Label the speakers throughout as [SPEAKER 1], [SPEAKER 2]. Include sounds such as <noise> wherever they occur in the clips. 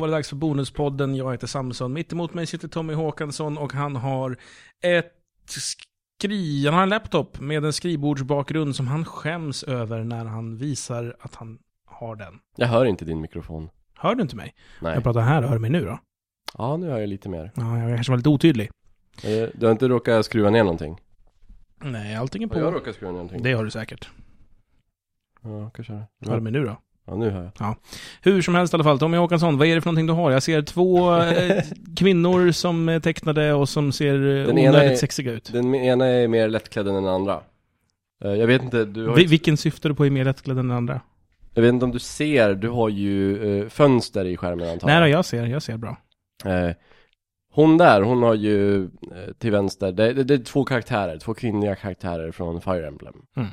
[SPEAKER 1] det dags för Bonuspodden. Jag heter Samson. Mitt emot mig sitter Tommy Håkansson och han har ett skri... Han har en laptop med en skrivbordsbakgrund som han skäms över när han visar att han har den.
[SPEAKER 2] Jag hör inte din mikrofon.
[SPEAKER 1] Hör du inte mig?
[SPEAKER 2] Nej.
[SPEAKER 1] Jag pratar här, hör du mig nu då?
[SPEAKER 2] Ja, nu hör jag lite mer.
[SPEAKER 1] Ja, jag kanske var lite otydlig.
[SPEAKER 2] Eh, Du har inte råkat skruva ner någonting?
[SPEAKER 1] Nej, allting är
[SPEAKER 2] Har jag
[SPEAKER 1] på.
[SPEAKER 2] råkat skruva ner någonting?
[SPEAKER 1] Det har du säkert.
[SPEAKER 2] Ja, kanske det.
[SPEAKER 1] Hör du mig nu då?
[SPEAKER 2] Ja, nu hör jag.
[SPEAKER 1] Hur som helst i alla fall, Tommy Håkansson, vad är det för någonting du har? Jag ser
[SPEAKER 2] <laughs>
[SPEAKER 1] två eh, kvinnor som är tecknade och som ser eh,
[SPEAKER 2] Den ena
[SPEAKER 1] onödigt
[SPEAKER 2] är-
[SPEAKER 1] sexiga ut.
[SPEAKER 2] Den ena är mer lättklädd än den andra. Eh, Jag vet inte, du har
[SPEAKER 1] Vi,
[SPEAKER 2] ju,
[SPEAKER 1] vilken syftar du på är mer lättklädd än den andra?
[SPEAKER 2] jag vet inte om du ser, du har ju eh, fönster i skärmen antagligen.
[SPEAKER 1] Nej då, jag ser, jag ser bra.
[SPEAKER 2] Eh, Hon där, hon har ju eh, till vänster, det, det, det är två karaktärer, två kvinnliga karaktärer från Fire Emblem.
[SPEAKER 1] Mm.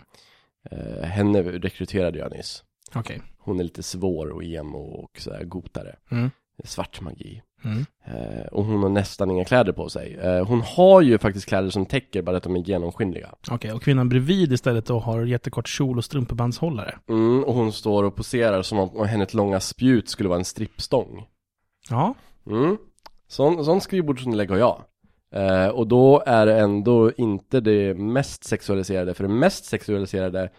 [SPEAKER 2] Eh, Henne rekryterade jag nyss.
[SPEAKER 1] Okej.
[SPEAKER 2] Hon är lite svår och emo och sådär gotare.
[SPEAKER 1] Mm.
[SPEAKER 2] Svart magi.
[SPEAKER 1] Mm.
[SPEAKER 2] Eh, och hon har nästan inga kläder på sig. Eh, hon har ju faktiskt kläder som täcker, bara att de är genomskinliga.
[SPEAKER 1] Okej, och kvinnan bredvid istället då har jättekort kjol och strumpebandshållare.
[SPEAKER 2] Mm, och hon står och poserar som om hennes långa spjut skulle vara en strippstång.
[SPEAKER 1] Ja.
[SPEAKER 2] Mm. Sån, sån skrivbordsunderlägg har jag. Eh, och då är det ändå inte det mest sexualiserade, för det mest sexualiserade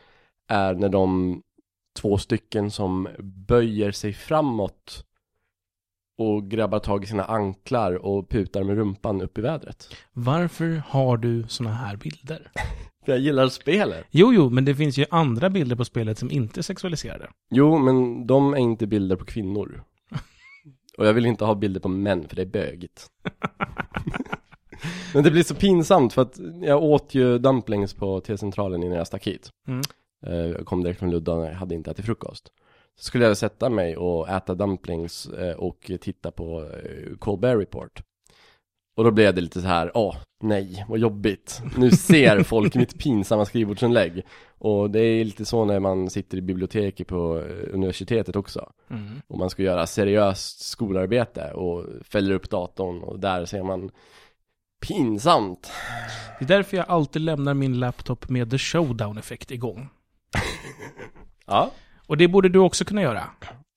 [SPEAKER 2] är när de två stycken som böjer sig framåt och grabbar tag i sina anklar och putar med rumpan upp i vädret.
[SPEAKER 1] Varför har du såna här bilder?
[SPEAKER 2] För jag gillar spelet.
[SPEAKER 1] Jo, jo, men det finns ju andra bilder på spelet som inte är sexualiserade.
[SPEAKER 2] Jo, men de är inte bilder på kvinnor. Och jag vill inte ha bilder på män, för det är bögigt. men det blir så pinsamt, för att jag åt ju dumplings på T-centralen innan jag stack hit.
[SPEAKER 1] Mm.
[SPEAKER 2] Eh, Jag kom direkt från Luddan, jag hade inte ätit frukost. Så skulle jag sätta mig och äta dumplings eh, och titta på eh, Colbert Report. Och då blev det lite så här, åh, nej, vad jobbigt. Nu ser folk mitt pinsamma skrivbordsinlägg. Och det är lite så när man sitter i biblioteket på eh, universitetet också.
[SPEAKER 1] Mm.
[SPEAKER 2] Och man ska göra seriöst skolarbete och fäller upp datorn och där ser man pinsamt.
[SPEAKER 1] Det är därför jag alltid lämnar min laptop med the showdown-effekt igång.
[SPEAKER 2] Ja.
[SPEAKER 1] Och det borde du också kunna göra.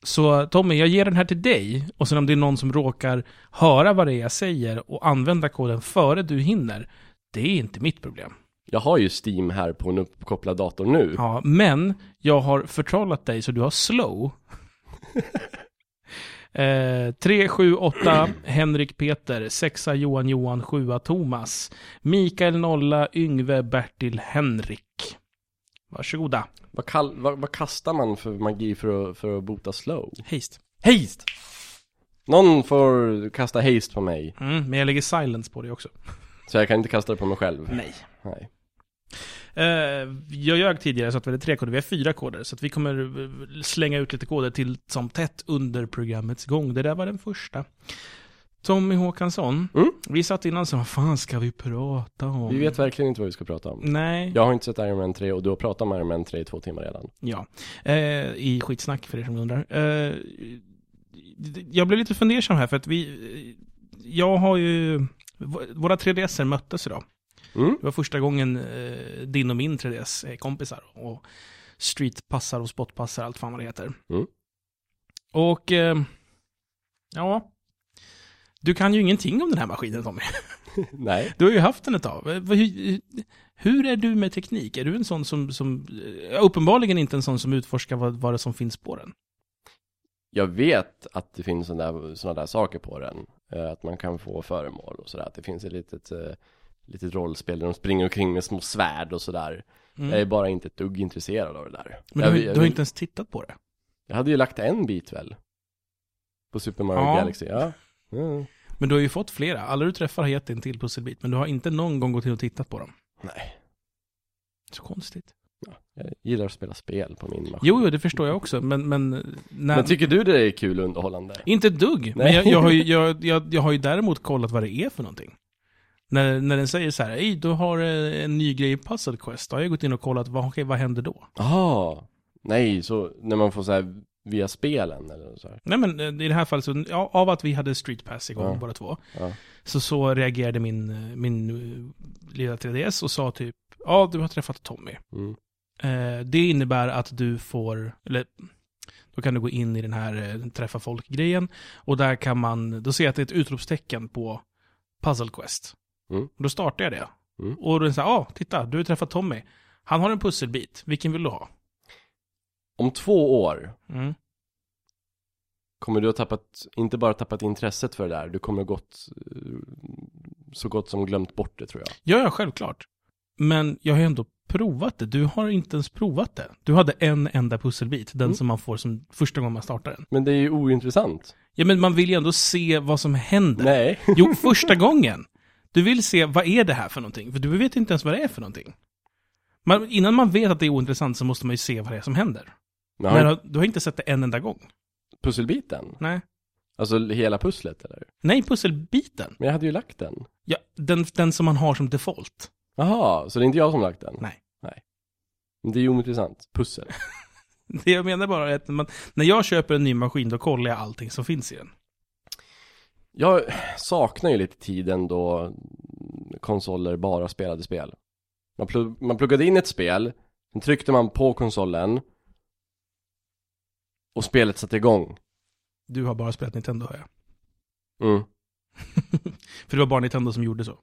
[SPEAKER 1] Så Tommy, jag ger den här till dig. Och sen om det är någon som råkar höra vad det är jag säger och använda koden före du hinner. Det är inte mitt problem.
[SPEAKER 2] Jag har ju Steam här på en uppkopplad dator nu.
[SPEAKER 1] Ja, men jag har förtrollat dig så du har slow. eh, 3, 7, 8, Henrik Peter, 6, Johan Johan, 7, Thomas, Mikael Nolla, Yngve, Bertil, Henrik. Varsågoda.
[SPEAKER 2] Vad, kall, vad, vad kastar man för magi för att, för att bota slow?
[SPEAKER 1] Hejst.
[SPEAKER 2] Haste! Någon får kasta haste på mig.
[SPEAKER 1] Mm, men jag lägger silence på det också.
[SPEAKER 2] Så jag kan inte kasta det på mig själv.
[SPEAKER 1] Nej.
[SPEAKER 2] Nej.
[SPEAKER 1] Eh, jag ljög tidigare så att vi hade tre koder, vi har fyra koder. Så att vi kommer eh, slänga ut lite koder till som tätt under programmets gång. Det där var den första. Tommy Håkansson,
[SPEAKER 2] Mm.
[SPEAKER 1] vi satt innan och sa vad fan ska vi prata om?
[SPEAKER 2] Vi vet verkligen inte vad vi ska prata
[SPEAKER 1] Mm.
[SPEAKER 2] om.
[SPEAKER 1] Nej, ja.
[SPEAKER 2] Jag har inte sett Iron Man 3 och du har pratat om Iron Man 3 i två timmar redan.
[SPEAKER 1] Eh, I skitsnack för er som undrar. Eh, jag blev lite fundersam här för att vi, eh, jag har ju, v- våra 3DSer möttes idag.
[SPEAKER 2] Mm? <laughs>
[SPEAKER 1] Det var första gången eh, din och min 3DS är kompisar och streetpassar och spotpassar, allt fan vad det heter.
[SPEAKER 2] Mm.
[SPEAKER 1] Och eh, ja, du kan ju ingenting om den här maskinen Tommy.
[SPEAKER 2] Nej.
[SPEAKER 1] Du har ju haft den ett tag. Eh, vad- Hur, hur är du med teknik? Är du en sån som, som eh, uppenbarligen inte en sån som utforskar vad, vad det som finns på den?
[SPEAKER 2] Jag vet att det finns sådana där, såna där saker på den. Eh, Att man kan få föremål och sådär. Att det finns ett litet, eh, litet rollspel där de springer omkring med små svärd och sådär.
[SPEAKER 1] Mm.
[SPEAKER 2] Jag är bara inte ett dugg intresserad av det där.
[SPEAKER 1] Men du,
[SPEAKER 2] jag,
[SPEAKER 1] har-
[SPEAKER 2] jag-
[SPEAKER 1] du har inte ens tittat på det.
[SPEAKER 2] jag hade ju lagt en bit väl? På Super Mario
[SPEAKER 1] Ja.
[SPEAKER 2] Galaxy, ja. Mm.
[SPEAKER 1] Men du har ju fått flera. Alla du träffar har gett dig en till pusselbit, men du har inte någon gång gått in och tittat på dem.
[SPEAKER 2] Nej.
[SPEAKER 1] Så konstigt.
[SPEAKER 2] Jag gillar att spela spel på min maskin.
[SPEAKER 1] Jo, jo, det förstår jag också, men... Men, när,
[SPEAKER 2] Men tycker du det är kul och underhållande?
[SPEAKER 1] inte ett dugg. Men
[SPEAKER 2] Nej.
[SPEAKER 1] jag, jag, har
[SPEAKER 2] <laughs>
[SPEAKER 1] ju, jag, jag, jag har ju däremot kollat vad det är för någonting. När, när den säger så här, Ej, du har eh, en ny grej i Puzzle Quest, då har jag gått in och kollat, vad, okej, vad händer då?
[SPEAKER 2] Ah, nej, så när man får så här via spelen eller så här.
[SPEAKER 1] Nej men eh, i det här fallet, så, ja, av att vi hade Street Pass igång
[SPEAKER 2] Ja.
[SPEAKER 1] båda två,
[SPEAKER 2] Ja.
[SPEAKER 1] så, så reagerade min, eh, min eh, lilla 3DS och sa typ, ja, du har träffat Tommy.
[SPEAKER 2] Mm.
[SPEAKER 1] Eh, det innebär att du får, eller Då kan du gå in i den här eh, träffa folk-grejen och där kan man, då ser jag att det är ett utropstecken på Puzzle Quest.
[SPEAKER 2] Mm.
[SPEAKER 1] Och Då startar jag det.
[SPEAKER 2] Mm.
[SPEAKER 1] Och då är det så här, ah, titta, du har träffat Tommy. Han har en pusselbit, vilken vill du ha?
[SPEAKER 2] Om två år
[SPEAKER 1] Mm.
[SPEAKER 2] kommer du ha tappat, inte bara tappat intresset för det där, du kommer gått, eh, så gott som glömt bort det tror jag.
[SPEAKER 1] Ja, ja, självklart. Men jag har ju ändå provat det. Du har inte ens provat det. Du hade en enda pusselbit, den
[SPEAKER 2] Mm.
[SPEAKER 1] som man får som första gången man startar den.
[SPEAKER 2] Men det är ju ointressant.
[SPEAKER 1] Ja, men man vill ju ändå se vad som händer.
[SPEAKER 2] Nej. <laughs>
[SPEAKER 1] Jo, första gången. Du vill se, vad är det här för någonting? För du vet inte ens vad det är för någonting. Man, innan man vet att det är ointressant så måste man ju se vad det är som händer.
[SPEAKER 2] Men
[SPEAKER 1] Men
[SPEAKER 2] har...
[SPEAKER 1] har- du har inte sett det en enda gång.
[SPEAKER 2] Pusselbiten?
[SPEAKER 1] Nej.
[SPEAKER 2] Alltså hela pusslet eller?
[SPEAKER 1] Nej, pusselbiten.
[SPEAKER 2] Men jag hade ju lagt den.
[SPEAKER 1] Ja, den, den som man har som default. <laughs>
[SPEAKER 2] Jaha, så det är inte jag som lagt den?
[SPEAKER 1] Nej.
[SPEAKER 2] Nej. Men det är ju ointressant. Pussel.
[SPEAKER 1] Det jag menar bara är att man, när jag köper en ny maskin då kollar jag allting som finns i den.
[SPEAKER 2] Jag saknar ju lite tiden då konsoler bara spelade spel. Man, plug man pluggade in ett spel, sen tryckte man på konsolen och spelet satte igång.
[SPEAKER 1] Du har bara spelat Nintendo, hör jag.
[SPEAKER 2] Mm.
[SPEAKER 1] För det var bara Nintendo som gjorde så.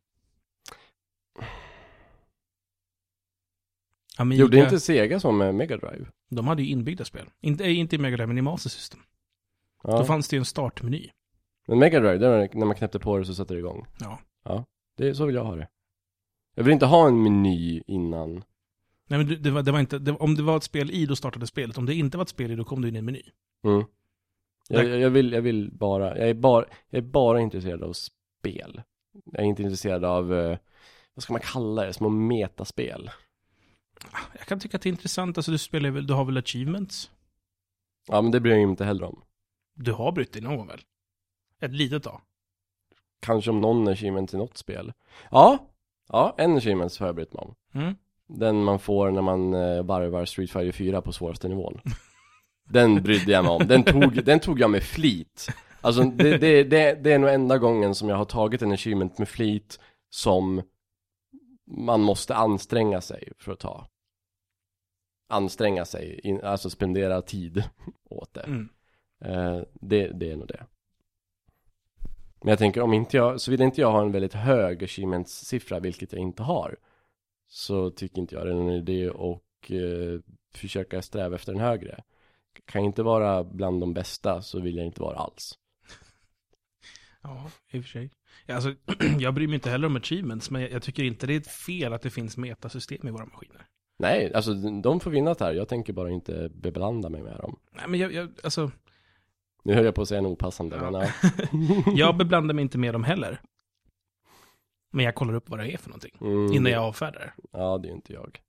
[SPEAKER 1] Amiga,
[SPEAKER 2] Gjorde inte Sega så med Mega Drive?
[SPEAKER 1] de hade ju inbyggda spel. Inte, äh, inte i Mega Drive, men i Master System. Då
[SPEAKER 2] Ja.
[SPEAKER 1] fanns det ju en startmeny.
[SPEAKER 2] Men Mega Drive, det var när man knäppte på det så satte det igång.
[SPEAKER 1] Ja.
[SPEAKER 2] Det, så vill jag ha det. Jag vill inte ha en meny innan.
[SPEAKER 1] Nej, men du- det var, det var inte, det, om det var ett spel i, då startade spelet. Om det inte var ett spel i, då kom du in i en meny.
[SPEAKER 2] Mm. Jag,
[SPEAKER 1] Nej.
[SPEAKER 2] jag, jag, vill, jag vill bara, jag är bara, jag är bara intresserad av spel. Jag är inte intresserad av, eh, vad ska man kalla det, små metaspel.
[SPEAKER 1] Ah, Jag kan tycka att det är intressant. Alltså, du, spelar, väl- du har väl achievements?
[SPEAKER 2] Ja men det bryr jag mig inte heller om.
[SPEAKER 1] Du har brytt dig någon gång väl? Ett litet tag.
[SPEAKER 2] Kanske om någon achievement i något spel. Ja, ja en achievement har jag brytt mig om.
[SPEAKER 1] Mm.
[SPEAKER 2] Den man får när man eh, varvar Street Fighter 4 på svåraste nivån. Den brydde jag mig om. Den tog, den tog jag med flit. Alltså det, det, det, det är nog enda gången som jag har tagit en achievement med flit som man måste anstränga sig för att ta. Anstränga sig, in, alltså spendera tid åt det.
[SPEAKER 1] Mm.
[SPEAKER 2] Eh, det. Det är nog det. Men jag tänker om inte jag, såvida inte jag har en väldigt hög achievements-siffra, vilket jag inte har, så tycker inte jag det är någon idé och eh, försöka sträva efter en högre. Kan jag inte vara bland de bästa så vill jag inte vara alls.
[SPEAKER 1] Ja, i och för sig. Ja, Alltså, <clears throat> jag bryr mig inte heller om achievements, men jag, jag tycker inte det är fel att det finns metasystem i våra maskiner.
[SPEAKER 2] Nej, alltså de får vinna det här. Jag tänker bara inte beblanda mig med dem.
[SPEAKER 1] Nej, men jag, jag, <laughs> alltså,
[SPEAKER 2] Nu höll jag på att säga en opassande,
[SPEAKER 1] Ja.
[SPEAKER 2] men ja.
[SPEAKER 1] jag beblandar mig inte med dem heller. Men jag kollar upp vad det är för någonting <laughs>
[SPEAKER 2] Mm,
[SPEAKER 1] innan jag avfärdar det.
[SPEAKER 2] Ja, det är inte jag.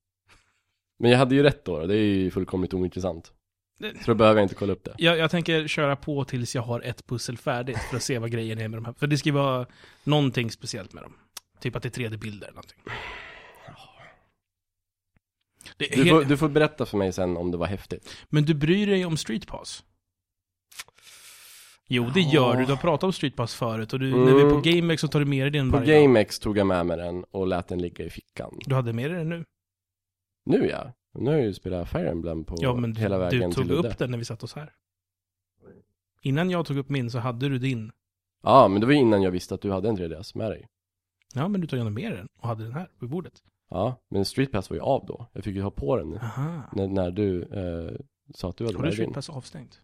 [SPEAKER 2] Men jag hade ju rätt då, det är ju fullkomligt ointressant.
[SPEAKER 1] Det-
[SPEAKER 2] Så då behöver jag inte kolla upp det.
[SPEAKER 1] Jag, jag tänker köra på tills jag har ett pussel färdigt för att se vad grejen är med de här. För det ska ju vara någonting speciellt med dem. Typ att det är 3D-bilder eller någonting. Det är
[SPEAKER 2] Du får,
[SPEAKER 1] helt,
[SPEAKER 2] du får berätta för mig sen om det var häftigt.
[SPEAKER 1] Men du bryr dig om Street Pass? Jo, det gör du. Du har pratat om Street Pass förut. Och du, när vi är på
[SPEAKER 2] Mm.
[SPEAKER 1] GameX så tar du med dig den
[SPEAKER 2] På
[SPEAKER 1] varje dag.
[SPEAKER 2] GameX tog jag med mig den och lät den ligga i fickan.
[SPEAKER 1] Du hade med dig den nu.
[SPEAKER 2] Nu ja. Nu har jag ju spelat Fire Emblem på
[SPEAKER 1] Ja, men
[SPEAKER 2] hela
[SPEAKER 1] du,
[SPEAKER 2] vägen
[SPEAKER 1] du
[SPEAKER 2] till
[SPEAKER 1] tog
[SPEAKER 2] Ludde.
[SPEAKER 1] upp den när vi satt oss här. Innan jag tog upp min så hade du din.
[SPEAKER 2] Ja, men det var ju innan jag visste att du hade en 3DS med dig.
[SPEAKER 1] Ja, men du tog ändå med den och hade den här på bordet.
[SPEAKER 2] Ja, men Street Pass var ju av då. Jag fick ju ha på den
[SPEAKER 1] Aha.
[SPEAKER 2] när, när du eh, sa att du hade
[SPEAKER 1] Har du
[SPEAKER 2] med din.
[SPEAKER 1] Street Pass avstängt?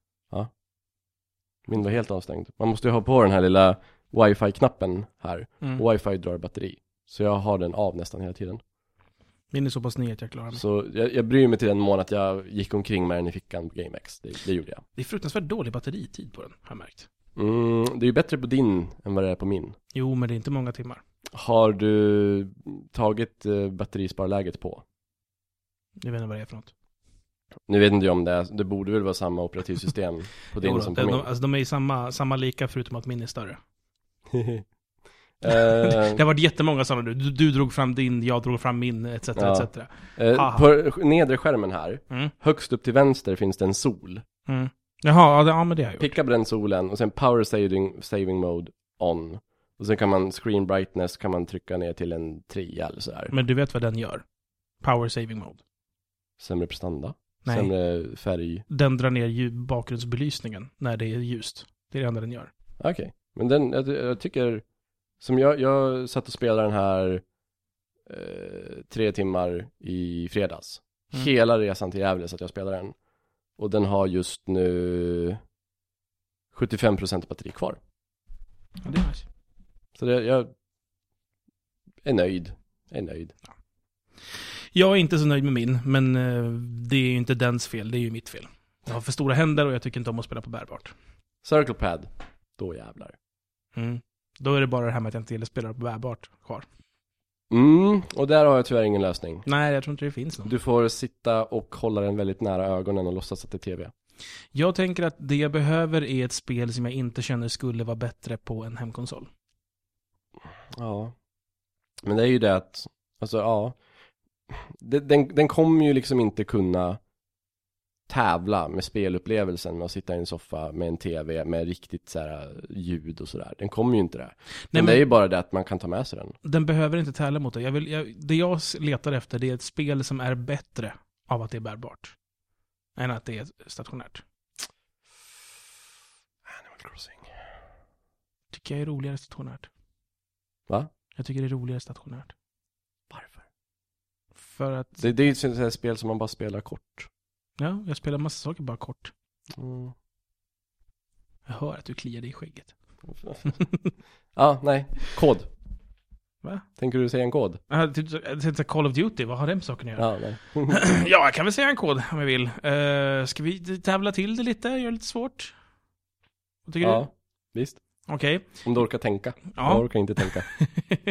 [SPEAKER 2] Min var helt avstängd. Man måste ju ha på den här lilla wifi-knappen här.
[SPEAKER 1] Mm.
[SPEAKER 2] Wifi drar batteri. Så jag har den av nästan hela tiden.
[SPEAKER 1] Min är så pass ny att jag klarar mig.
[SPEAKER 2] Så jag, jag bryr mig till den mån att jag gick omkring med den i fickan på GameX. Det, det gjorde jag.
[SPEAKER 1] Det är fruktansvärt dålig batteritid på den, har jag märkt.
[SPEAKER 2] Mm, det är ju bättre på din än vad det är på min.
[SPEAKER 1] Jo, men det är inte många timmar.
[SPEAKER 2] Har du tagit eh, batterisparläget på?
[SPEAKER 1] Jag vet inte vad det är för något.
[SPEAKER 2] Nu vet inte jag om det är, det borde väl vara samma operativsystem
[SPEAKER 1] <laughs>
[SPEAKER 2] på din
[SPEAKER 1] Jo,
[SPEAKER 2] som på
[SPEAKER 1] de,
[SPEAKER 2] min.
[SPEAKER 1] de, alltså, de är ju samma, samma lika, förutom att min är större. <laughs>
[SPEAKER 2] <laughs> Eh,
[SPEAKER 1] Det har varit jättemånga sådana nu. Du, du drog fram din, jag drog fram min, etc.
[SPEAKER 2] Ja.
[SPEAKER 1] etc.
[SPEAKER 2] eh,
[SPEAKER 1] Haha.
[SPEAKER 2] på nedre skärmen här,
[SPEAKER 1] Mm.
[SPEAKER 2] högst upp till vänster finns det en sol.
[SPEAKER 1] Mm. Jaha, ja, det, ja men det har jag gjort.
[SPEAKER 2] Picka på den solen och sen power saving, saving mode on. Och sen kan man screen brightness kan man trycka ner till en 3 eller sådär.
[SPEAKER 1] Men du vet vad den gör? Power saving mode.
[SPEAKER 2] Sämre prestanda.
[SPEAKER 1] Nej.
[SPEAKER 2] Sämre färg.
[SPEAKER 1] Den drar ner ljud- bakgrundsbelysningen när det är ljust. Det är det enda den gör.
[SPEAKER 2] Okej. Men den, jag, jag tycker, som jag, jag satt och spelade den här eh, tre timmar i fredags.
[SPEAKER 1] Mm.
[SPEAKER 2] Hela resan till Gävle så att jag spelade den. Och den har just nu 75% batteri kvar.
[SPEAKER 1] Ja, det är nice.
[SPEAKER 2] Så det, jag är nöjd. Är nöjd.
[SPEAKER 1] Jag är inte så nöjd med min, men eh, det är ju inte dens fel, det är ju mitt fel. Jag har för stora händer och jag tycker inte om att spela på bärbart.
[SPEAKER 2] Circle pad. Då jävlar.
[SPEAKER 1] Mm. Då är det bara det här med att jag inte gillar att spela på bärbart kvar.
[SPEAKER 2] Mm, och där har jag tyvärr ingen lösning.
[SPEAKER 1] Nej, jag tror inte det finns någon.
[SPEAKER 2] Du får sitta och hålla den väldigt nära ögonen och låtsas att det är tv.
[SPEAKER 1] Jag tänker att det jag behöver är ett spel som jag inte känner skulle vara bättre på en hemkonsol.
[SPEAKER 2] Ja. Men det är ju det att, alltså ja. Det- Den, den kommer ju liksom inte kunna tävla med spelupplevelsen med att sitta i en soffa med en tv med riktigt så här ljud och sådär. Den kommer ju inte det. Men,
[SPEAKER 1] Nej,
[SPEAKER 2] det är
[SPEAKER 1] men
[SPEAKER 2] ju bara det att man kan ta med sig den.
[SPEAKER 1] den behöver inte tävla mot det. Jag vill, jag, det jag s- letar efter det är ett spel som är bättre av att det är bärbart. Än att det är stationärt.
[SPEAKER 2] Animal Crossing.
[SPEAKER 1] Tycker jag är roligare stationärt.
[SPEAKER 2] Va?
[SPEAKER 1] Jag tycker det är roligare stationärt.
[SPEAKER 2] Varför?
[SPEAKER 1] För att
[SPEAKER 2] Det, det är ju ett sånt här spel som man bara
[SPEAKER 1] <laughs>
[SPEAKER 2] spelar kort.
[SPEAKER 1] Ja, jag spelar massa saker bara kort.
[SPEAKER 2] Mm.
[SPEAKER 1] Jag hör att du kliar dig i skägget.
[SPEAKER 2] ja, nej. Kod.
[SPEAKER 1] Va?
[SPEAKER 2] Tänker du säga en kod?
[SPEAKER 1] Ah, typ så- jag tänkte säga Call of Duty, vad har den saken att göra?
[SPEAKER 2] Ja, nej.
[SPEAKER 1] <clears throat> Ja, jag kan väl säga en kod om jag vill. Uh, ska vi tävla till det lite? Göra det lite svårt? Vad tycker
[SPEAKER 2] <laughs> ja, visst.
[SPEAKER 1] du? Okej.
[SPEAKER 2] Om du orkar tänka. Jag
[SPEAKER 1] Ja.
[SPEAKER 2] orkar inte tänka.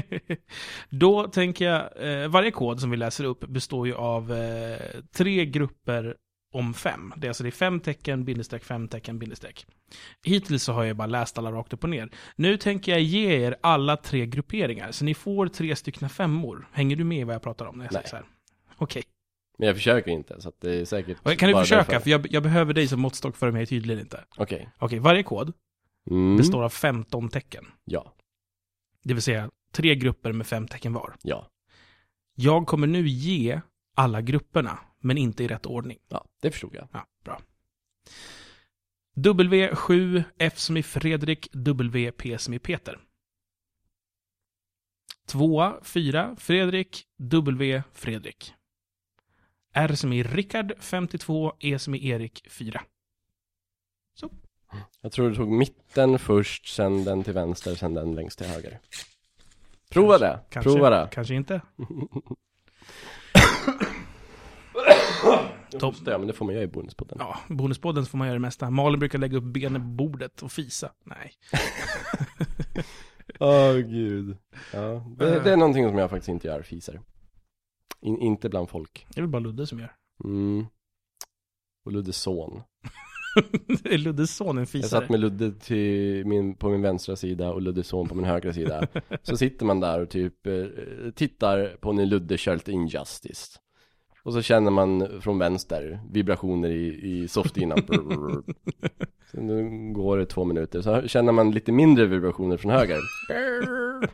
[SPEAKER 1] <laughs> Då tänker jag, eh, varje kod som vi läser upp består ju av eh, tre grupper om fem. Det är alltså det är fem tecken, bindestreck, fem tecken, bindestreck. Hittills så har jag bara läst alla rakt upp och ner. Nu tänker jag ge er alla tre grupperingar, så ni får tre stycken femmor. Hänger du med i vad jag pratar om när jag säger
[SPEAKER 2] Nej.
[SPEAKER 1] så här? Okej.
[SPEAKER 2] Men jag försöker inte, så att det är säkert
[SPEAKER 1] Och Kan du
[SPEAKER 2] bara
[SPEAKER 1] försöka?
[SPEAKER 2] därför.
[SPEAKER 1] För jag, jag behöver dig som måttstock för om jag är tydlig eller inte. Okej,
[SPEAKER 2] Okej.
[SPEAKER 1] varje kod
[SPEAKER 2] Mm.
[SPEAKER 1] består av 15 tecken.
[SPEAKER 2] Ja,
[SPEAKER 1] Det vill säga tre grupper med fem tecken var.
[SPEAKER 2] ja,
[SPEAKER 1] Jag kommer nu ge alla grupperna, men inte i rätt ordning.
[SPEAKER 2] ja, det förstod jag.
[SPEAKER 1] Ja, bra. W7, F som i Fredrik, W, P som i Peter. Tvåa, fyra, Fredrik, W, Fredrik. R som i Rickard, 52, E som i Erik, 4.
[SPEAKER 2] Jag tror du tog mitten först, sen den till vänster, sen den längst till höger. Prova det,
[SPEAKER 1] Kanske,
[SPEAKER 2] prova det.
[SPEAKER 1] kanske inte.
[SPEAKER 2] Tom. Det, men det får man göra i bonuspodden.
[SPEAKER 1] Ja, bonuspodden så får man göra det mesta. Malin brukar lägga upp benen på bordet och fisa. Nej.
[SPEAKER 2] Åh gud. Ja. Det, det är någonting som jag faktiskt inte gör, fiser. In, inte bland folk.
[SPEAKER 1] Det är väl bara Ludde som gör. <laughs>
[SPEAKER 2] Mm. Och Luddes son.
[SPEAKER 1] Det är Luddes son en
[SPEAKER 2] Jag
[SPEAKER 1] fisare?
[SPEAKER 2] satt med Ludde till min, på min vänstra sida och Luddes son på min högra sida. Så sitter man där och typ eh, tittar på när Ludde kör lite Injustice. Och så känner man från vänster vibrationer i, i softinan. Brrrr. Sen nu går det två minuter. Så känner man lite mindre vibrationer från höger. Brrrr.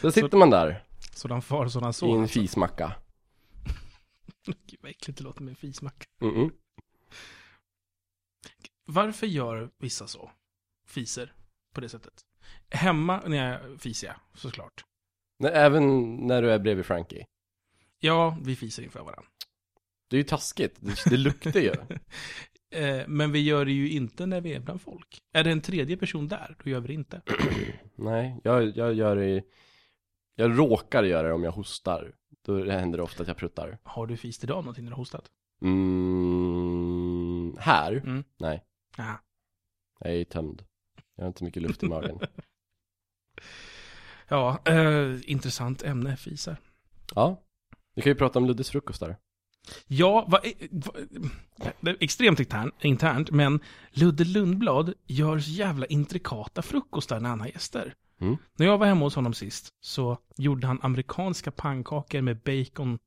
[SPEAKER 2] Så sitter man där
[SPEAKER 1] Sådan far, sådan
[SPEAKER 2] i en
[SPEAKER 1] son.
[SPEAKER 2] fismacka.
[SPEAKER 1] <laughs> Gud vad äckligt det låter med en fismacka.
[SPEAKER 2] Mm-mm.
[SPEAKER 1] Varför gör vissa så? Fiser på det sättet. Hemma när jag fiser jag, såklart.
[SPEAKER 2] Nej, Även när du är bredvid Frankie.
[SPEAKER 1] Ja, vi fiser inför varandra.
[SPEAKER 2] Det är ju taskigt. Det, det luktar ju.
[SPEAKER 1] Eh, men vi gör det ju inte när vi är bland folk. Är det en tredje person där, då gör vi det inte.
[SPEAKER 2] <clears throat> Nej, jag, jag gör det Jag råkar göra det om jag hostar Då händer det ofta att jag pruttar
[SPEAKER 1] Har du fist idag någonting när du har hostat?
[SPEAKER 2] mm, Här?
[SPEAKER 1] Mm.
[SPEAKER 2] Nej
[SPEAKER 1] Ah.
[SPEAKER 2] Jag är tömd Jag har inte mycket luft i magen
[SPEAKER 1] Ja, eh, intressant ämne, fisar.
[SPEAKER 2] Ja Vi kan ju prata om Luddes frukostar
[SPEAKER 1] Ja, va, eh, va, det är extremt intern, internt, men Ludde Lundblad gör så jävla intrikata frukostar när han har gäster.
[SPEAKER 2] Mm.
[SPEAKER 1] När jag var hemma hos honom sist så gjorde han amerikanska pannkakor med bacon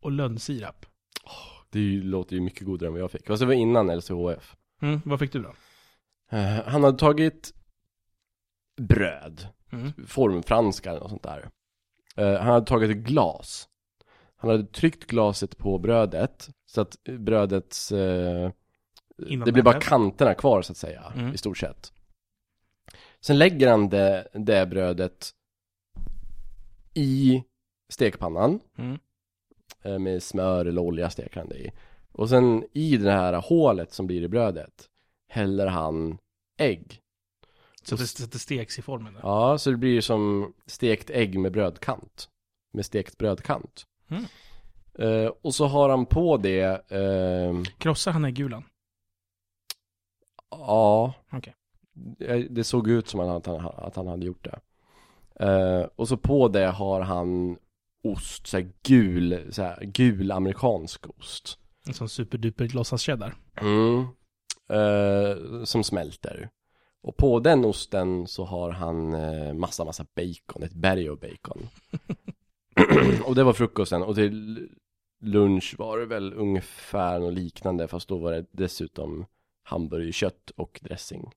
[SPEAKER 1] och lönnsirap.
[SPEAKER 2] Det är ju- låter ju mycket godare än vad jag fick Fast det var innan LCHF
[SPEAKER 1] Mm, vad fick du då?
[SPEAKER 2] Eh, Han hade tagit Bröd
[SPEAKER 1] Mm.
[SPEAKER 2] formfranska eller något sånt där. Eh, han hade tagit ett glas. Han hade tryckt glaset på brödet så att brödets... Eh,
[SPEAKER 1] Innan
[SPEAKER 2] det blir bara
[SPEAKER 1] brödet.
[SPEAKER 2] kanterna kvar så att säga,
[SPEAKER 1] Mm.
[SPEAKER 2] i stort sett. Sen lägger han det, det brödet i stekpannan
[SPEAKER 1] Mm.
[SPEAKER 2] eh, med smör eller olja steker han det i. Och sen i det här hålet som blir i brödet häller han ägg.
[SPEAKER 1] Så att det, så att det steks i formen. där.
[SPEAKER 2] Ja, så det blir som stekt ägg med brödkant. Med stekt brödkant.
[SPEAKER 1] Mm.
[SPEAKER 2] Eh, och så har han på det, ehm,
[SPEAKER 1] Krossar han äggulan?
[SPEAKER 2] ja,
[SPEAKER 1] Okej.
[SPEAKER 2] Eh, det såg ut som att han, att han hade gjort det. Eh, och så på det har han ost, så här gul, så här gul amerikansk ost.
[SPEAKER 1] En sån superduper låtsas-cheddar.
[SPEAKER 2] Mm. Eh, som smälter. Och på den osten så har han eh, massa, massa bacon, ett berg av bacon. <clears throat> och det var frukosten och till lunch var det väl ungefär något liknande fast då var det dessutom hamburgerkött och dressing.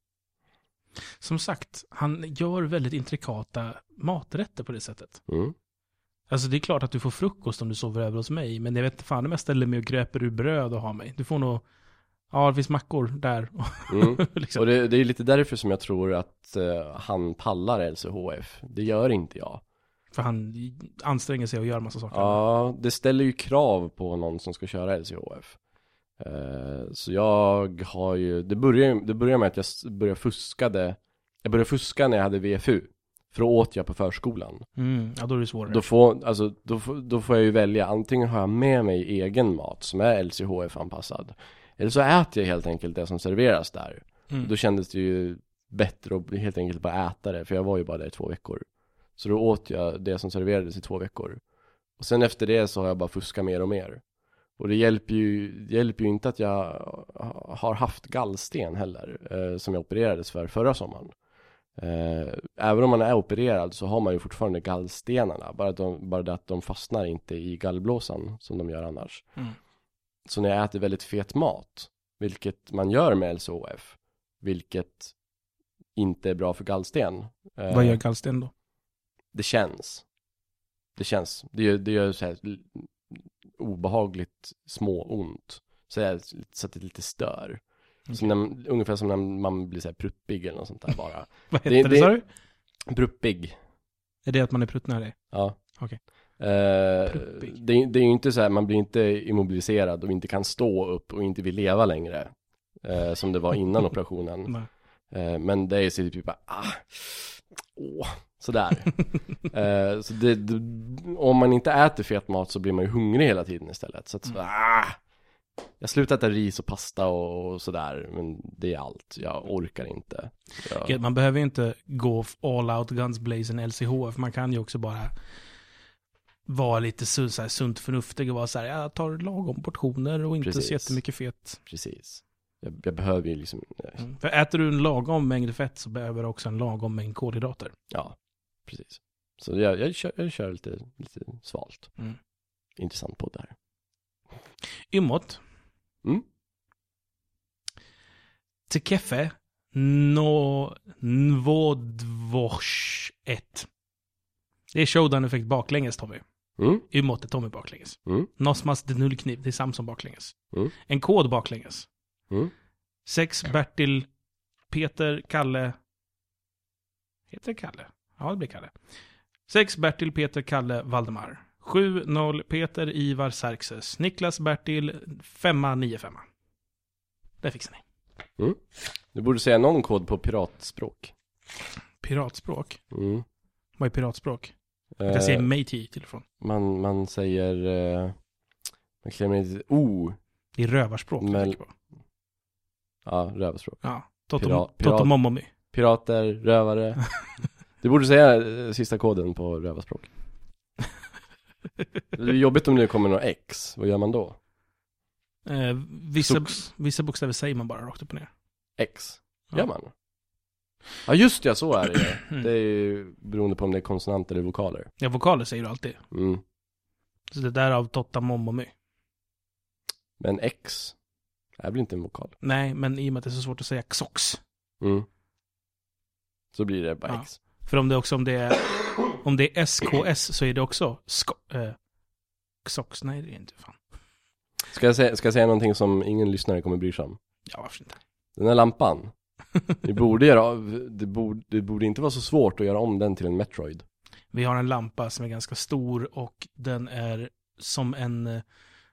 [SPEAKER 1] Som sagt, han gör väldigt intrikata maträtter på det sättet.
[SPEAKER 2] Mm.
[SPEAKER 1] Alltså det är klart att du får frukost om du sover över hos mig, men jag vet inte fan om jag ställer mig och gröper ur bröd och har mig. Du får nog, ja det finns mackor där. <laughs>
[SPEAKER 2] Mm.
[SPEAKER 1] liksom.
[SPEAKER 2] Och det, det är lite därför som jag tror att eh, han pallar LCHF. Det gör inte jag.
[SPEAKER 1] För han anstränger sig och gör massa saker.
[SPEAKER 2] Ja, det ställer ju krav på någon som ska köra LCHF. Eh, Så jag har ju, det började, det började med att jag s- började fuskade, jag började fuska när jag hade VFU. För då åt jag på förskolan.
[SPEAKER 1] Mm, ja då är det svårare.
[SPEAKER 2] Då får, alltså, då, får, då får jag ju välja, antingen har jag med mig egen mat som är LCHF-anpassad. Eller så äter jag helt enkelt det som serveras där.
[SPEAKER 1] Mm.
[SPEAKER 2] Då kändes det ju bättre att helt enkelt bara äta det, för jag var ju bara där i två veckor. Så då åt jag det som serverades i två veckor. Och sen efter det så har jag bara fuskat mer och mer. Och det hjälper ju, det hjälper ju inte att jag har haft gallsten heller, eh, som jag opererades för förra sommaren. Eh, även om man är opererad så har man ju fortfarande gallstenarna, bara, att de, bara det att de fastnar inte i gallblåsan som de gör annars.
[SPEAKER 1] Mm.
[SPEAKER 2] Så när jag äter väldigt fet mat, vilket man gör med LCHF, vilket inte är bra för gallsten. eh,
[SPEAKER 1] Vad gör gallsten då? <laughs>
[SPEAKER 2] det känns. Det känns. Det gör, det gör så här l- obehagligt småont. Så, här, så att det lite stör. Som när, ungefär som när man blir så här pruppig eller något sånt där bara.
[SPEAKER 1] Vad heter
[SPEAKER 2] det-
[SPEAKER 1] det,
[SPEAKER 2] det-
[SPEAKER 1] sa du?
[SPEAKER 2] pruppig.
[SPEAKER 1] Är det att man är pruttnödig?
[SPEAKER 2] Ja.
[SPEAKER 1] Okej.
[SPEAKER 2] Eh,
[SPEAKER 1] Pruppig.
[SPEAKER 2] det, det är ju inte så här, man blir inte immobiliserad och inte kan stå upp och inte vill leva längre. Eh, som det
[SPEAKER 1] <laughs>
[SPEAKER 2] var innan operationen.
[SPEAKER 1] Nej.
[SPEAKER 2] Eh, men det är så typ bara, ah, åh,
[SPEAKER 1] <laughs>
[SPEAKER 2] sådär. eh, så det, det, om man inte äter fet mat så blir man ju hungrig hela tiden istället. Så att,
[SPEAKER 1] Mm.
[SPEAKER 2] så, ah, jag slutar äta ris och pasta och, och sådär, men det är allt. Jag orkar inte. Jag,
[SPEAKER 1] Okej, Man behöver ju inte gå f- all out guns blazing LCHF. Man kan ju också bara vara lite su- så här, sunt förnuftig och vara så här, jag tar lagom portioner och inte
[SPEAKER 2] Precis.
[SPEAKER 1] så jättemycket fet.
[SPEAKER 2] Precis. Jag, jag behöver ju liksom,
[SPEAKER 1] Mm. För äter du en lagom mängd fett så behöver du också en lagom mängd kolhydrater.
[SPEAKER 2] ja, precis. Så jag, jag, kör, jag kör lite, lite svalt.
[SPEAKER 1] Mm.
[SPEAKER 2] Intressant podd det här.
[SPEAKER 1] Ymmot.
[SPEAKER 2] Mm.
[SPEAKER 1] Tekefe no nvodvosh 1. Det är showdown-effekt baklänges, Tommy.
[SPEAKER 2] Mm.
[SPEAKER 1] Ymmot är Tommy baklänges.
[SPEAKER 2] Mm.
[SPEAKER 1] Nosmas de nullkniv, det är Samson baklänges.
[SPEAKER 2] Mm.
[SPEAKER 1] En kod baklänges.
[SPEAKER 2] Mm.
[SPEAKER 1] Sex Bertil, Peter, Kalle. Heter det Kalle? Ja, det blir Kalle. Sex Bertil, Peter, Kalle, Valdemar. 7-0 Peter, Ivar, Xerxes. Niklas, Bertil, 5 9 5 Där fixar ni.
[SPEAKER 2] Du borde säga någon kod på piratspråk.
[SPEAKER 1] Piratspråk?
[SPEAKER 2] Mm.
[SPEAKER 1] Vad är piratspråk?
[SPEAKER 2] Eh,
[SPEAKER 1] Jag säger matey till och från.
[SPEAKER 2] Man, man säger, eh, man klämmer inte O,
[SPEAKER 1] Det är rövarspråk jag
[SPEAKER 2] Men-
[SPEAKER 1] tänker på.
[SPEAKER 2] ja, rövspråk.
[SPEAKER 1] Ja.
[SPEAKER 2] Pirat- pirat- <laughs>
[SPEAKER 1] Totomomomi.
[SPEAKER 2] Pirater,
[SPEAKER 1] <laughs>
[SPEAKER 2] rövare. Du borde säga eh, sista koden på rövarspråk. Det är jobbigt om det kommer något X, vad gör man då?
[SPEAKER 1] Eh, vissa,
[SPEAKER 2] Sux.
[SPEAKER 1] vissa bokstäver säger man bara rakt upp och ner.
[SPEAKER 2] X,
[SPEAKER 1] Ja.
[SPEAKER 2] gör man? Ja just ja, så är det ju.
[SPEAKER 1] <clears throat> Mm.
[SPEAKER 2] Det är ju beroende på om det är konsonanter eller vokaler.
[SPEAKER 1] Ja, vokaler säger du alltid.
[SPEAKER 2] Mm.
[SPEAKER 1] Så det där av Totta Momomi.
[SPEAKER 2] Men X är väl inte en vokal?
[SPEAKER 1] Nej, men i och med att det är så svårt att säga xox.
[SPEAKER 2] Mm. Så blir det bara
[SPEAKER 1] Ja.
[SPEAKER 2] X.
[SPEAKER 1] För om det också om det är, om det är SKS så är det också sko, eh, Sox, nej det är inte fan.
[SPEAKER 2] Ska jag, säga, ska jag säga någonting som ingen lyssnare kommer bry sig om?
[SPEAKER 1] Ja, varför inte?
[SPEAKER 2] Den här lampan.
[SPEAKER 1] <laughs>
[SPEAKER 2] Vi borde göra, av- det borde, det borde inte vara så svårt att göra om den till en Metroid.
[SPEAKER 1] Vi har en lampa som är ganska stor och den är som en eh,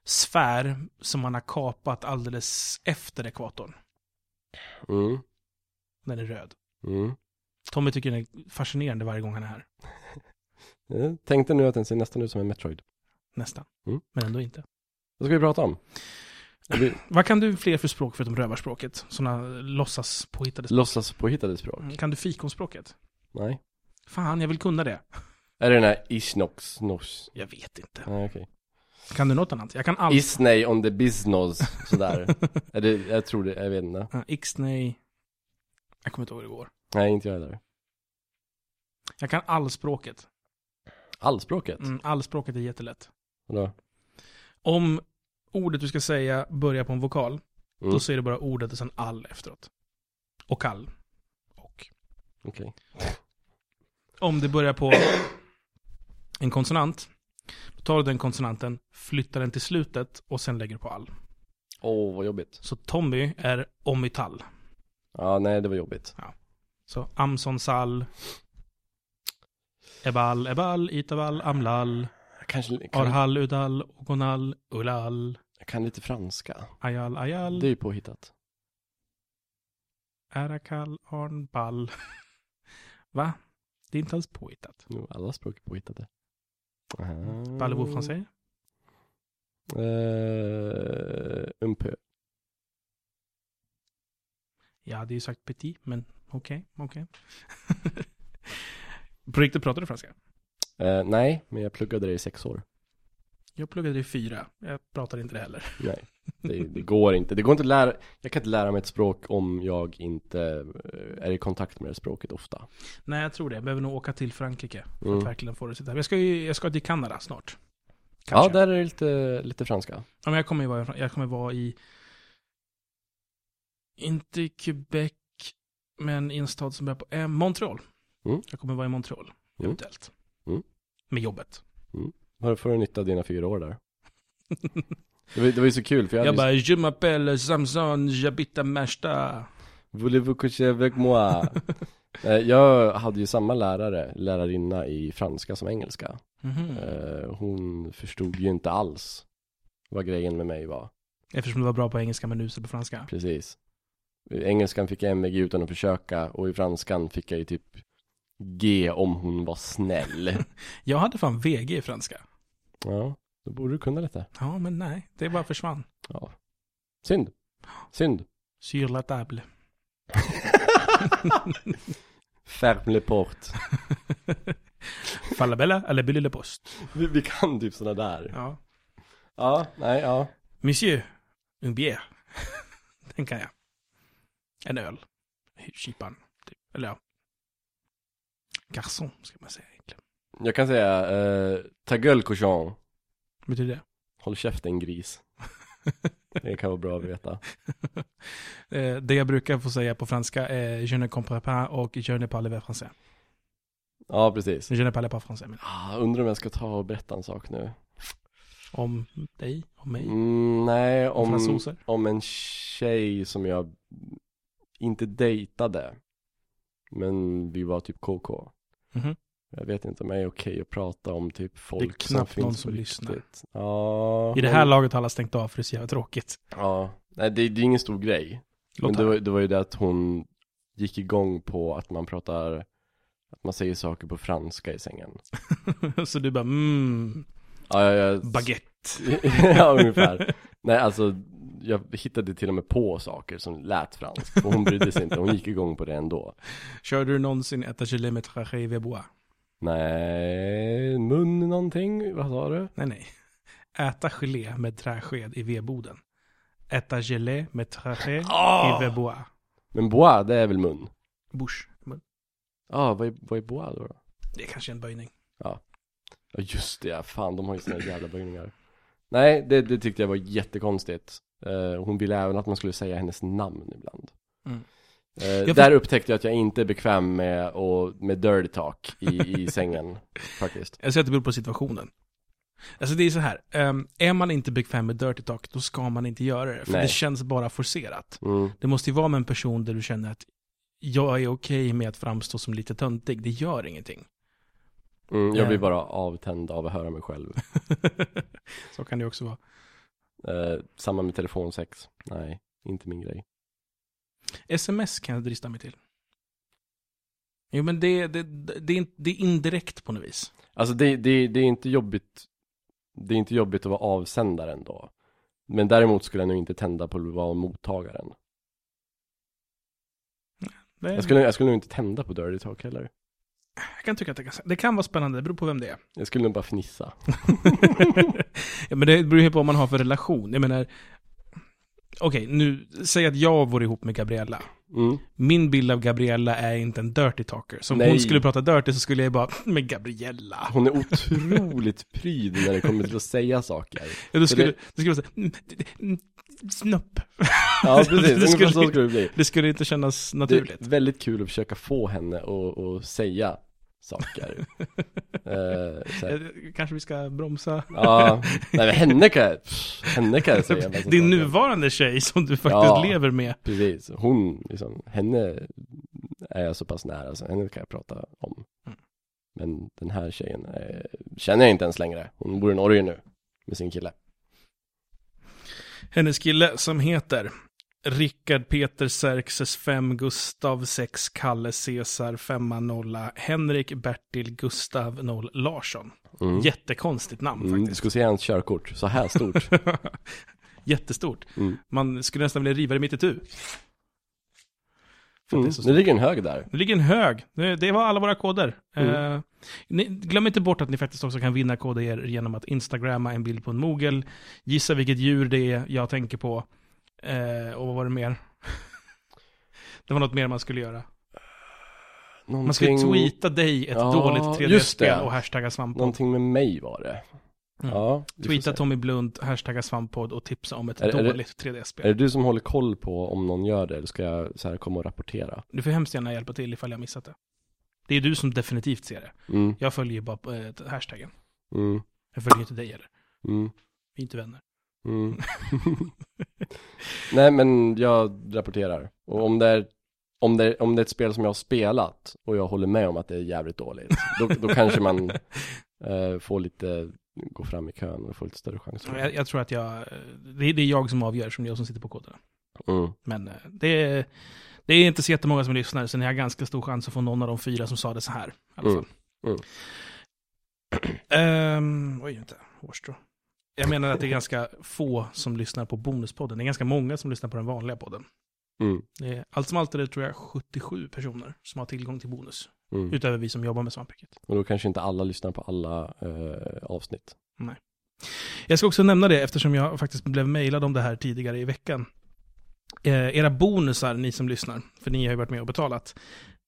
[SPEAKER 1] sfär som man har kapat alldeles efter ekvatorn.
[SPEAKER 2] Mm,
[SPEAKER 1] Den är röd.
[SPEAKER 2] mm.
[SPEAKER 1] Tommy tycker den är fascinerande varje gång han är här.
[SPEAKER 2] Jag tänkte nu att den ser nästan ut som en Metroid.
[SPEAKER 1] Nästan.
[SPEAKER 2] Mm.
[SPEAKER 1] Men ändå inte.
[SPEAKER 2] Vad ska vi prata om?
[SPEAKER 1] <laughs>
[SPEAKER 2] Vi
[SPEAKER 1] Vad kan du fler för språk förutom rövarspråket? Sådana låtsas påhittade språk.
[SPEAKER 2] låtsas påhittade språk.
[SPEAKER 1] Mm, Kan du fikonspråket?
[SPEAKER 2] Nej.
[SPEAKER 1] Fan, jag vill kunna det.
[SPEAKER 2] Är det den här Isnox? Nos?
[SPEAKER 1] Jag vet inte.
[SPEAKER 2] Nej, okej.
[SPEAKER 1] Kan du något annat? Jag kan allt.
[SPEAKER 2] Isney on the business. Sådär. <laughs> är det, jag tror det, jag vet inte.
[SPEAKER 1] Ja, X, nej. Jag kommer inte ihåg hur det går.
[SPEAKER 2] Nej, inte jag heller.
[SPEAKER 1] Jag kan allspråket.
[SPEAKER 2] Allspråket?
[SPEAKER 1] Mm, allspråket är jättelätt.
[SPEAKER 2] Vadå?
[SPEAKER 1] Om ordet du ska säga börjar på en vokal,
[SPEAKER 2] Mm,
[SPEAKER 1] då säger du bara ordet och sen all efteråt. Och all. Och.
[SPEAKER 2] Okej.
[SPEAKER 1] Om det börjar på en konsonant, då tar du den konsonanten, flyttar den till slutet och sen lägger du på all.
[SPEAKER 2] Åh, vad jobbigt.
[SPEAKER 1] Så Tommy är omitall.
[SPEAKER 2] Ja, nej, det var jobbigt.
[SPEAKER 1] Så Amson Sal, Ebal, Ebal, Itaval, Amlal,
[SPEAKER 2] Jag kanske kan,
[SPEAKER 1] Arhal, Udal, Ogonal, Ulal,
[SPEAKER 2] jag kan lite franska.
[SPEAKER 1] Ayal, Ayal,
[SPEAKER 2] Det är ju påhittat.
[SPEAKER 1] Arakal, Arnbal. <laughs> Va? Det är inte alls påhittat.
[SPEAKER 2] Jo, alla språk är påhittade. Ah.
[SPEAKER 1] Ballevo français?
[SPEAKER 2] Uh, un peu.
[SPEAKER 1] Jag hade ju sagt petit, men okej, okej. <laughs> På riktigt pratar du franska?
[SPEAKER 2] Eh, nej, men jag pluggade det i sex år.
[SPEAKER 1] Jag pluggade i fyra. Jag pratar inte det heller.
[SPEAKER 2] Nej, det, det går inte. Det går inte att lära, jag kan inte lära mig ett språk om jag inte eh, är i kontakt med det språket ofta.
[SPEAKER 1] Nej, jag tror det. Jag behöver nog åka till Frankrike för
[SPEAKER 2] Mm.
[SPEAKER 1] att verkligen få det att sitta. Jag ska ju jag ska till Kanada snart.
[SPEAKER 2] Ja,
[SPEAKER 1] Kanske.
[SPEAKER 2] där är det lite, lite franska.
[SPEAKER 1] Ja, men jag kommer ju vara, jag kommer vara i... Inte i Quebec, men i en stad som börjar på... Eh, Montreal.
[SPEAKER 2] Mm.
[SPEAKER 1] Jag kommer vara i Montreal,
[SPEAKER 2] Mm.
[SPEAKER 1] eventuellt.
[SPEAKER 2] Mm.
[SPEAKER 1] Med jobbet.
[SPEAKER 2] Har får du nytta av dina fyra
[SPEAKER 1] <laughs>
[SPEAKER 2] år där? Det var, det var ju så kul, för jag,
[SPEAKER 1] Jag,
[SPEAKER 2] hade
[SPEAKER 1] bara, je m'appelle Samson, j'habite à Märsta.
[SPEAKER 2] ju... Voulez-vous coucher avec moi? Eh, jag hade ju samma lärare, lärarinna i franska som engelska.
[SPEAKER 1] <laughs> Mhm.
[SPEAKER 2] Eh, hon förstod ju inte alls vad grejen med mig var.
[SPEAKER 1] Eftersom du var bra på engelska men usel på franska.
[SPEAKER 2] Precis. I engelskan fick jag MVG utan att försöka och i franskan fick jag ju typ G om hon var snäll.
[SPEAKER 1] Jag hade fan VG i franska.
[SPEAKER 2] ja, då borde du kunna detta.
[SPEAKER 1] Ja, men nej. Det bara försvann.
[SPEAKER 2] Ja. Synd. Synd.
[SPEAKER 1] Sur la table. <laughs>
[SPEAKER 2] Ferme le port.
[SPEAKER 1] Falabella eller Billy le post.
[SPEAKER 2] Vi, vi kan typ sådana där.
[SPEAKER 1] Ja.
[SPEAKER 2] Ja, nej, ja.
[SPEAKER 1] Monsieur, un <laughs> bière. Den kan jag. En öl. Kypan, typ. Eller ja. Garçon, ska man säga egentligen.
[SPEAKER 2] Jag kan säga, eh, ta gueule cochon.
[SPEAKER 1] Betyder det? <laughs>
[SPEAKER 2] Håll käften gris. Det kan vara bra att veta.
[SPEAKER 1] Eh, Det jag brukar få säga på franska är Je ne comprends pas och Je ne parle pas français.
[SPEAKER 2] Ja, precis.
[SPEAKER 1] Je ne parle pas français. Men
[SPEAKER 2] Ah, undrar om jag ska ta och berätta en sak nu.
[SPEAKER 1] om dig, om mig,
[SPEAKER 2] Mm, nej,
[SPEAKER 1] om
[SPEAKER 2] om,
[SPEAKER 1] fransoser.
[SPEAKER 2] om en tjej som jag inte dejtade. Men vi var typ KK.
[SPEAKER 1] Mhm.
[SPEAKER 2] Jag vet inte om jag är okej att prata om typ folk
[SPEAKER 1] Det är knappt
[SPEAKER 2] som
[SPEAKER 1] någon
[SPEAKER 2] finns
[SPEAKER 1] som
[SPEAKER 2] på
[SPEAKER 1] lyssnar.
[SPEAKER 2] riktigt. Ja,
[SPEAKER 1] I det här
[SPEAKER 2] men-
[SPEAKER 1] laget har alla stängt av för det är så jävla tråkigt.
[SPEAKER 2] Ja, nej det, det är ingen stor grej.
[SPEAKER 1] Låt
[SPEAKER 2] Men det
[SPEAKER 1] höra.
[SPEAKER 2] var, det var ju det att hon gick igång på att man pratar, att man säger saker på franska i sängen.
[SPEAKER 1] <laughs> så du bara mm,
[SPEAKER 2] Ja, jag, jag,
[SPEAKER 1] baguette.
[SPEAKER 2] <laughs> ja,
[SPEAKER 1] <laughs>
[SPEAKER 2] ungefär. Nej, alltså jag hittade till och med på saker som lät franskt. Och hon brydde sig inte, hon gick igång på det ändå.
[SPEAKER 1] Körde du någonsin ett kilometer rive bois?
[SPEAKER 2] Nej, mun någonting, vad sa du?
[SPEAKER 1] Nej, nej. Äta gelé med träsked i vedboden. Äta gelé med träsked
[SPEAKER 2] Ah!
[SPEAKER 1] i vedbois.
[SPEAKER 2] Men bois, det är väl mun?
[SPEAKER 1] Bush. Men
[SPEAKER 2] Ja, ah, vad, är- vad är bois då? då?
[SPEAKER 1] Det är kanske en böjning.
[SPEAKER 2] Ja just det, ja. fan de har ju sina jävla böjningar. Nej, det, det tyckte jag var jättekonstigt. Eh, hon ville även att man skulle säga hennes namn ibland.
[SPEAKER 1] Mm.
[SPEAKER 2] Eh,
[SPEAKER 1] för-
[SPEAKER 2] Där upptäckte jag att jag inte är bekväm med, och, med dirty talk i, i sängen faktiskt.
[SPEAKER 1] Jag säger att det beror på situationen. Alltså det är så här, ehm, är man inte bekväm med Dirty Talk, då ska man inte göra det. För
[SPEAKER 2] Nej.
[SPEAKER 1] det känns bara forcerat.
[SPEAKER 2] Mm.
[SPEAKER 1] Det måste ju vara med en person där du känner att jag är okej med att framstå som lite töntig, det gör ingenting. <laughs>
[SPEAKER 2] Mm, jag blir
[SPEAKER 1] Eh.
[SPEAKER 2] bara avtänd av att höra mig själv. <laughs>
[SPEAKER 1] så kan det också vara.
[SPEAKER 2] Eh, samma med telefonsex. Nej, inte min grej.
[SPEAKER 1] Sms kan jag drista mig till. Jo men det, det, det, är in- det är indirekt på något vis.
[SPEAKER 2] Alltså det, det, det är inte jobbigt Det är inte jobbigt att vara avsändaren då Men däremot skulle jag nog inte tända på att vara mottagaren
[SPEAKER 1] Det,
[SPEAKER 2] jag skulle, jag skulle nog inte tända på Dirty Talk heller
[SPEAKER 1] jag kan tycka att det kan, det kan vara spännande, det beror på vem det är. <laughs>
[SPEAKER 2] Jag skulle nog bara fnissa
[SPEAKER 1] ja, men det beror ju på vad man har för relation. Jag menar, okej, nu, säg att jag vore ihop med Gabriella.
[SPEAKER 2] mm.
[SPEAKER 1] Min bild av Gabriella är inte en dirty talker. Så om
[SPEAKER 2] Nej.
[SPEAKER 1] hon skulle prata dirty så skulle jag bara, <laughs> men Gabriella.
[SPEAKER 2] Hon är
[SPEAKER 1] <laughs>
[SPEAKER 2] otroligt pryd när det kommer till att säga saker
[SPEAKER 1] Ja, Då skulle,
[SPEAKER 2] det-
[SPEAKER 1] det... skulle jag säga, "Mm, d- d- mm, snopp.
[SPEAKER 2] Ja
[SPEAKER 1] Det
[SPEAKER 2] precis, ungefär
[SPEAKER 1] skulle-
[SPEAKER 2] så skulle det bli
[SPEAKER 1] Det skulle inte kännas
[SPEAKER 2] Det
[SPEAKER 1] naturligt.
[SPEAKER 2] är väldigt kul att försöka få henne att, att säga
[SPEAKER 1] <laughs>
[SPEAKER 2] saker eh, så här.
[SPEAKER 1] Eh, Kanske vi ska bromsa. <laughs>
[SPEAKER 2] Ja, nej men henne kan jag, pff, henne kan jag säga en massa
[SPEAKER 1] Din
[SPEAKER 2] saker.
[SPEAKER 1] Alltså, nuvarande tjej som du faktiskt
[SPEAKER 2] Ja.
[SPEAKER 1] lever med.
[SPEAKER 2] Precis, hon, liksom, henne är jag så pass nära så henne kan jag prata om.
[SPEAKER 1] Mm.
[SPEAKER 2] Men den här tjejen eh, känner jag inte ens längre. Hon bor i Norge nu med sin kille.
[SPEAKER 1] Hennes kille som heter Rickard Peter Xerxes 5 Gustav 6 Kalle Cesar 5 0 Henrik Bertil Gustav 0 Larsson.
[SPEAKER 2] Mm.
[SPEAKER 1] Jättekonstigt namn
[SPEAKER 2] Mm, du
[SPEAKER 1] faktiskt. <laughs>
[SPEAKER 2] skulle se hans körkort, så här stort.
[SPEAKER 1] Jättestort.
[SPEAKER 2] Mm.
[SPEAKER 1] Man skulle nästan vilja riva det mitt itu. För att det
[SPEAKER 2] Mm.
[SPEAKER 1] är så
[SPEAKER 2] Nu
[SPEAKER 1] stort.
[SPEAKER 2] ligger en hög där.
[SPEAKER 1] Det ligger en hög. Det det var alla våra koder.
[SPEAKER 2] Mm.
[SPEAKER 1] Eh, ni, glöm inte bort att ni faktiskt också kan vinna koder genom att instagramma en bild på en mogel. Gissa vilket djur det är jag tänker på. Eh, och vad var det mer? <laughs> det var något mer man skulle göra.
[SPEAKER 2] Någonting,
[SPEAKER 1] Man skulle tweeta dig ett
[SPEAKER 2] Ja,
[SPEAKER 1] dåligt
[SPEAKER 2] just det.
[SPEAKER 1] 3D-spel och hashtagga svamppodd.
[SPEAKER 2] någonting med mig var det.
[SPEAKER 1] Mm.
[SPEAKER 2] Ja, vi får
[SPEAKER 1] Tweeta
[SPEAKER 2] se.
[SPEAKER 1] Tommy Blunt, hashtagga svamppodd och tipsa om ett
[SPEAKER 2] Är det- är det-
[SPEAKER 1] dåligt
[SPEAKER 2] Är
[SPEAKER 1] 3D-spel.
[SPEAKER 2] det du som håller koll på om någon gör det, eller ska jag så här komma och rapportera?
[SPEAKER 1] Du får hemskt gärna hjälpa till ifall jag missat det. Det är du som definitivt ser det.
[SPEAKER 2] Mm,
[SPEAKER 1] Jag följer ju bara på, eh, hashtaggen.
[SPEAKER 2] mm,
[SPEAKER 1] Jag följer ju inte dig heller.
[SPEAKER 2] mm,
[SPEAKER 1] Vi är inte vänner.
[SPEAKER 2] <laughs> mm. Nej men jag rapporterar. Och om det, är, om, det är, om det är ett spel som jag har spelat och jag håller med om att det är jävligt dåligt, då, då kanske <laughs> man eh, får lite, gå fram i kön och får lite större chans.
[SPEAKER 1] <laughs> Jag, jag tror att jag, eh, det, är- det är jag som avgör som jag som sitter på koderna.
[SPEAKER 2] Mm.
[SPEAKER 1] Men eh, det, är- det är inte så jättemånga som lyssnar, så ni har ganska stor chans att få någon av de fyra som sa det så här. I alla fall.
[SPEAKER 2] Mm, mm.
[SPEAKER 1] Ehm, oj, vänta. Hårstrå. Jag menar att det är ganska få som lyssnar på Bonuspodden. Det är ganska många som lyssnar på den vanliga podden.
[SPEAKER 2] Mm.
[SPEAKER 1] Det är, allt som allt är det tror jag 77 personer som har tillgång till Bonus.
[SPEAKER 2] Mm.
[SPEAKER 1] Utöver vi som jobbar med Svampriket.
[SPEAKER 2] Och då kanske inte alla lyssnar på alla eh, avsnitt.
[SPEAKER 1] Jag ska också nämna det eftersom jag faktiskt blev mejlad om det här tidigare i veckan. Eh, era bonusar, ni som lyssnar, för ni har ju varit med och betalat,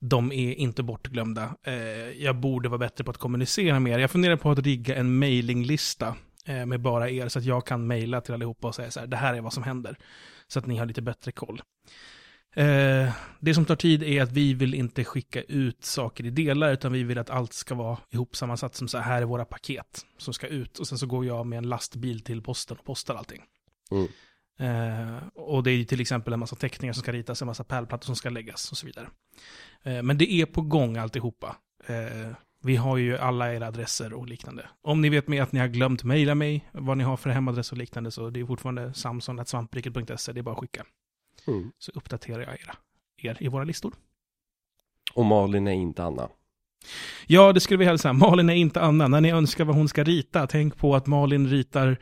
[SPEAKER 1] de är inte bortglömda. Eh, jag borde vara bättre på att kommunicera med er. Jag funderar på att rigga en mailinglista eh, med bara er så att jag kan mejla till allihopa och säga så här, det här är vad som händer. Så att ni har lite bättre koll. Eh, det som tar tid är att vi vill inte skicka ut saker i delar, utan vi vill att allt ska vara ihopsammansatt som så här, här är våra paket som ska ut. Och sen så går jag med en lastbil till posten och postar allting.
[SPEAKER 2] Mm.
[SPEAKER 1] Eh, och det är ju till exempel en massa teckningar som ska ritas, en massa pärlplattor som ska läggas och så vidare. Eh, men det är på gång alltihopa. Eh, vi har ju alla era adresser och liknande. Om ni vet med att ni har glömt mejla mig, vad ni har för hemadress och liknande, så det är fortfarande samson.svampriket.se, det är bara att skicka
[SPEAKER 2] Mm.
[SPEAKER 1] så uppdaterar jag era, er i våra listor.
[SPEAKER 2] Och Malin är inte Anna.
[SPEAKER 1] Ja, det skulle vi hälsa. Malin är inte Anna. När ni önskar vad hon ska rita, tänk på att Malin ritar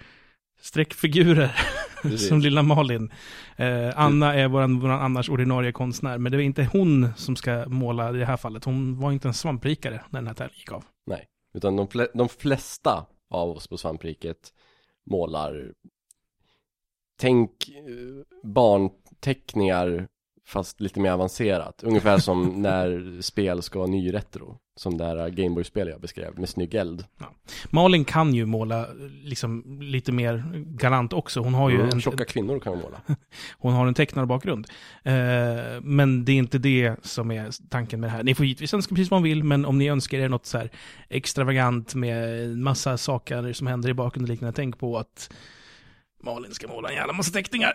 [SPEAKER 1] streckfigurer <laughs>
[SPEAKER 2] Precis.
[SPEAKER 1] som lilla Malin. Eh, Anna är vår, vår annars ordinarie konstnär, men det är inte hon som ska måla i det här fallet. Hon var inte en svamprikare när den här tävlingen gick av.
[SPEAKER 2] Utan de, fle- de flesta av oss på svampriket målar Tänk eh, barnteckningar Fast lite mer avancerat.
[SPEAKER 1] <laughs>
[SPEAKER 2] Ungefär som när spel ska vara nyretro. Som det här Gameboy-spel jag beskrev med snygg eld.
[SPEAKER 1] Malin kan ju måla liksom, lite mer galant också. Hon har ju
[SPEAKER 2] Mm,
[SPEAKER 1] en,
[SPEAKER 2] Tjocka kvinnor kan
[SPEAKER 1] <laughs>
[SPEAKER 2] vi måla.
[SPEAKER 1] Hon har en tecknarbakgrund. Eh, men det är inte det som är tanken med det här. Ni får givetvis önska precis vad ni vill, men om ni önskar er något så här extravagant med en massa saker som händer i bakgrunden och liknande, tänk på att Malin ska måla en jävla massa teckningar.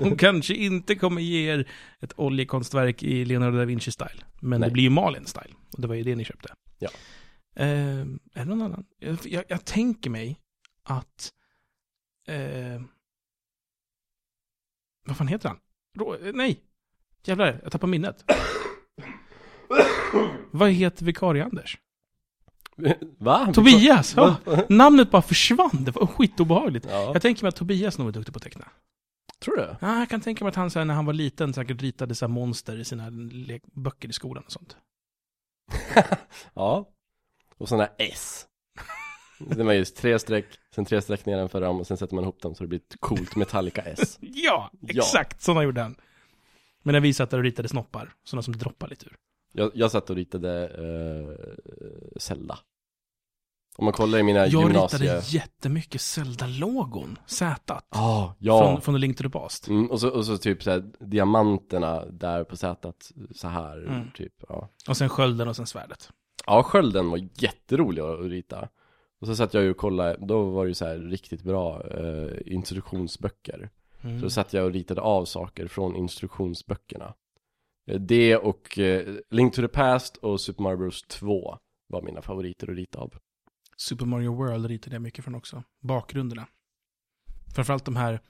[SPEAKER 1] <laughs> Hon kanske inte kommer ge er ett oljekonstverk i Leonardo da Vinci-style, men
[SPEAKER 2] Nej.
[SPEAKER 1] det blir ju Malin-style. Och det var ju det ni köpte.
[SPEAKER 2] Ja.
[SPEAKER 1] Eh, är det någon annan? Jag, jag, jag tänker mig att... Eh, vad fan heter han? Rå, eh, nej! Jävlar, jag tappar minnet. vad heter vikarie Anders?
[SPEAKER 2] Va?
[SPEAKER 1] Tobias! Ja,
[SPEAKER 2] <laughs> Va?
[SPEAKER 1] namnet bara försvann, det var skitobehagligt.
[SPEAKER 2] Ja,
[SPEAKER 1] Jag tänker mig att Tobias nog är duktig på att teckna.
[SPEAKER 2] tror du?
[SPEAKER 1] Ja, jag kan tänka mig att han så här, när han var liten säkert ritade så här monster i sina le- böcker i skolan och sånt.
[SPEAKER 2] Ja. Och sådana här S. Det var just tre streck, sen tre streck nedanför dem och sen sätter man ihop dem så det blir ett coolt Metallica S.
[SPEAKER 1] Ja,
[SPEAKER 2] Ja.
[SPEAKER 1] exakt sådana gjorde han. Men när vi satt där och ritade snoppar, sådana som droppar lite ur.
[SPEAKER 2] Jag, jag satt och ritade eh, Zelda. Om man kollar i mina
[SPEAKER 1] Jag
[SPEAKER 2] Äh, gymnasie...
[SPEAKER 1] ritade jättemycket Zelda-logon, Z,
[SPEAKER 2] Ah,
[SPEAKER 1] från,
[SPEAKER 2] ja.
[SPEAKER 1] från The Link to the Past.
[SPEAKER 2] Mm, och, så, och så typ så här, diamanterna där på sätet så här
[SPEAKER 1] Mm.
[SPEAKER 2] typ. Ja.
[SPEAKER 1] Och sen skölden och sen svärdet.
[SPEAKER 2] ja, skölden var jätterolig att att rita. Och så satt jag ju och kollade, då var det ju så här riktigt bra eh, instruktionsböcker.
[SPEAKER 1] Mm.
[SPEAKER 2] Så satt jag och ritade av saker från instruktionsböckerna. Eh, Det och eh, Link to the Past och Super Mario Bros 2 var mina favoriter att rita av.
[SPEAKER 1] Super Mario World ritade jag mycket från också. Bakgrunderna. Framförallt de här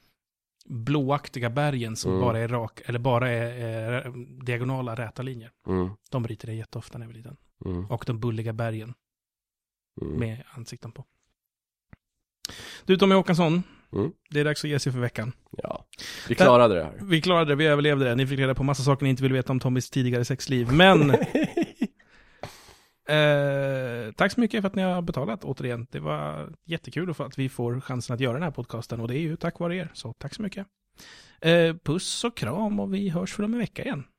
[SPEAKER 1] blåaktiga bergen som
[SPEAKER 2] Mm.
[SPEAKER 1] bara är rak, eller bara är eh, diagonala räta linjer.
[SPEAKER 2] Mm.
[SPEAKER 1] De ritade jag jätteofta när jag var liten.
[SPEAKER 2] Mm.
[SPEAKER 1] Och de bulliga bergen
[SPEAKER 2] Mm.
[SPEAKER 1] med ansikten på. Du Tommy Håkansson,
[SPEAKER 2] Mm.
[SPEAKER 1] det är dags att ge sig för veckan.
[SPEAKER 2] Ja, vi klarade det här.
[SPEAKER 1] Vi klarade det, vi överlevde det. Ni fick reda på massa saker ni inte ville veta om Tommys tidigare sexliv. Men Eh, tack så mycket för att ni har betalat återigen. Det var jättekul och för att vi får chansen att göra den här podcasten och det är ju tack vare er. Så tack så mycket. Eh, puss och kram och vi hörs för om en vecka igen.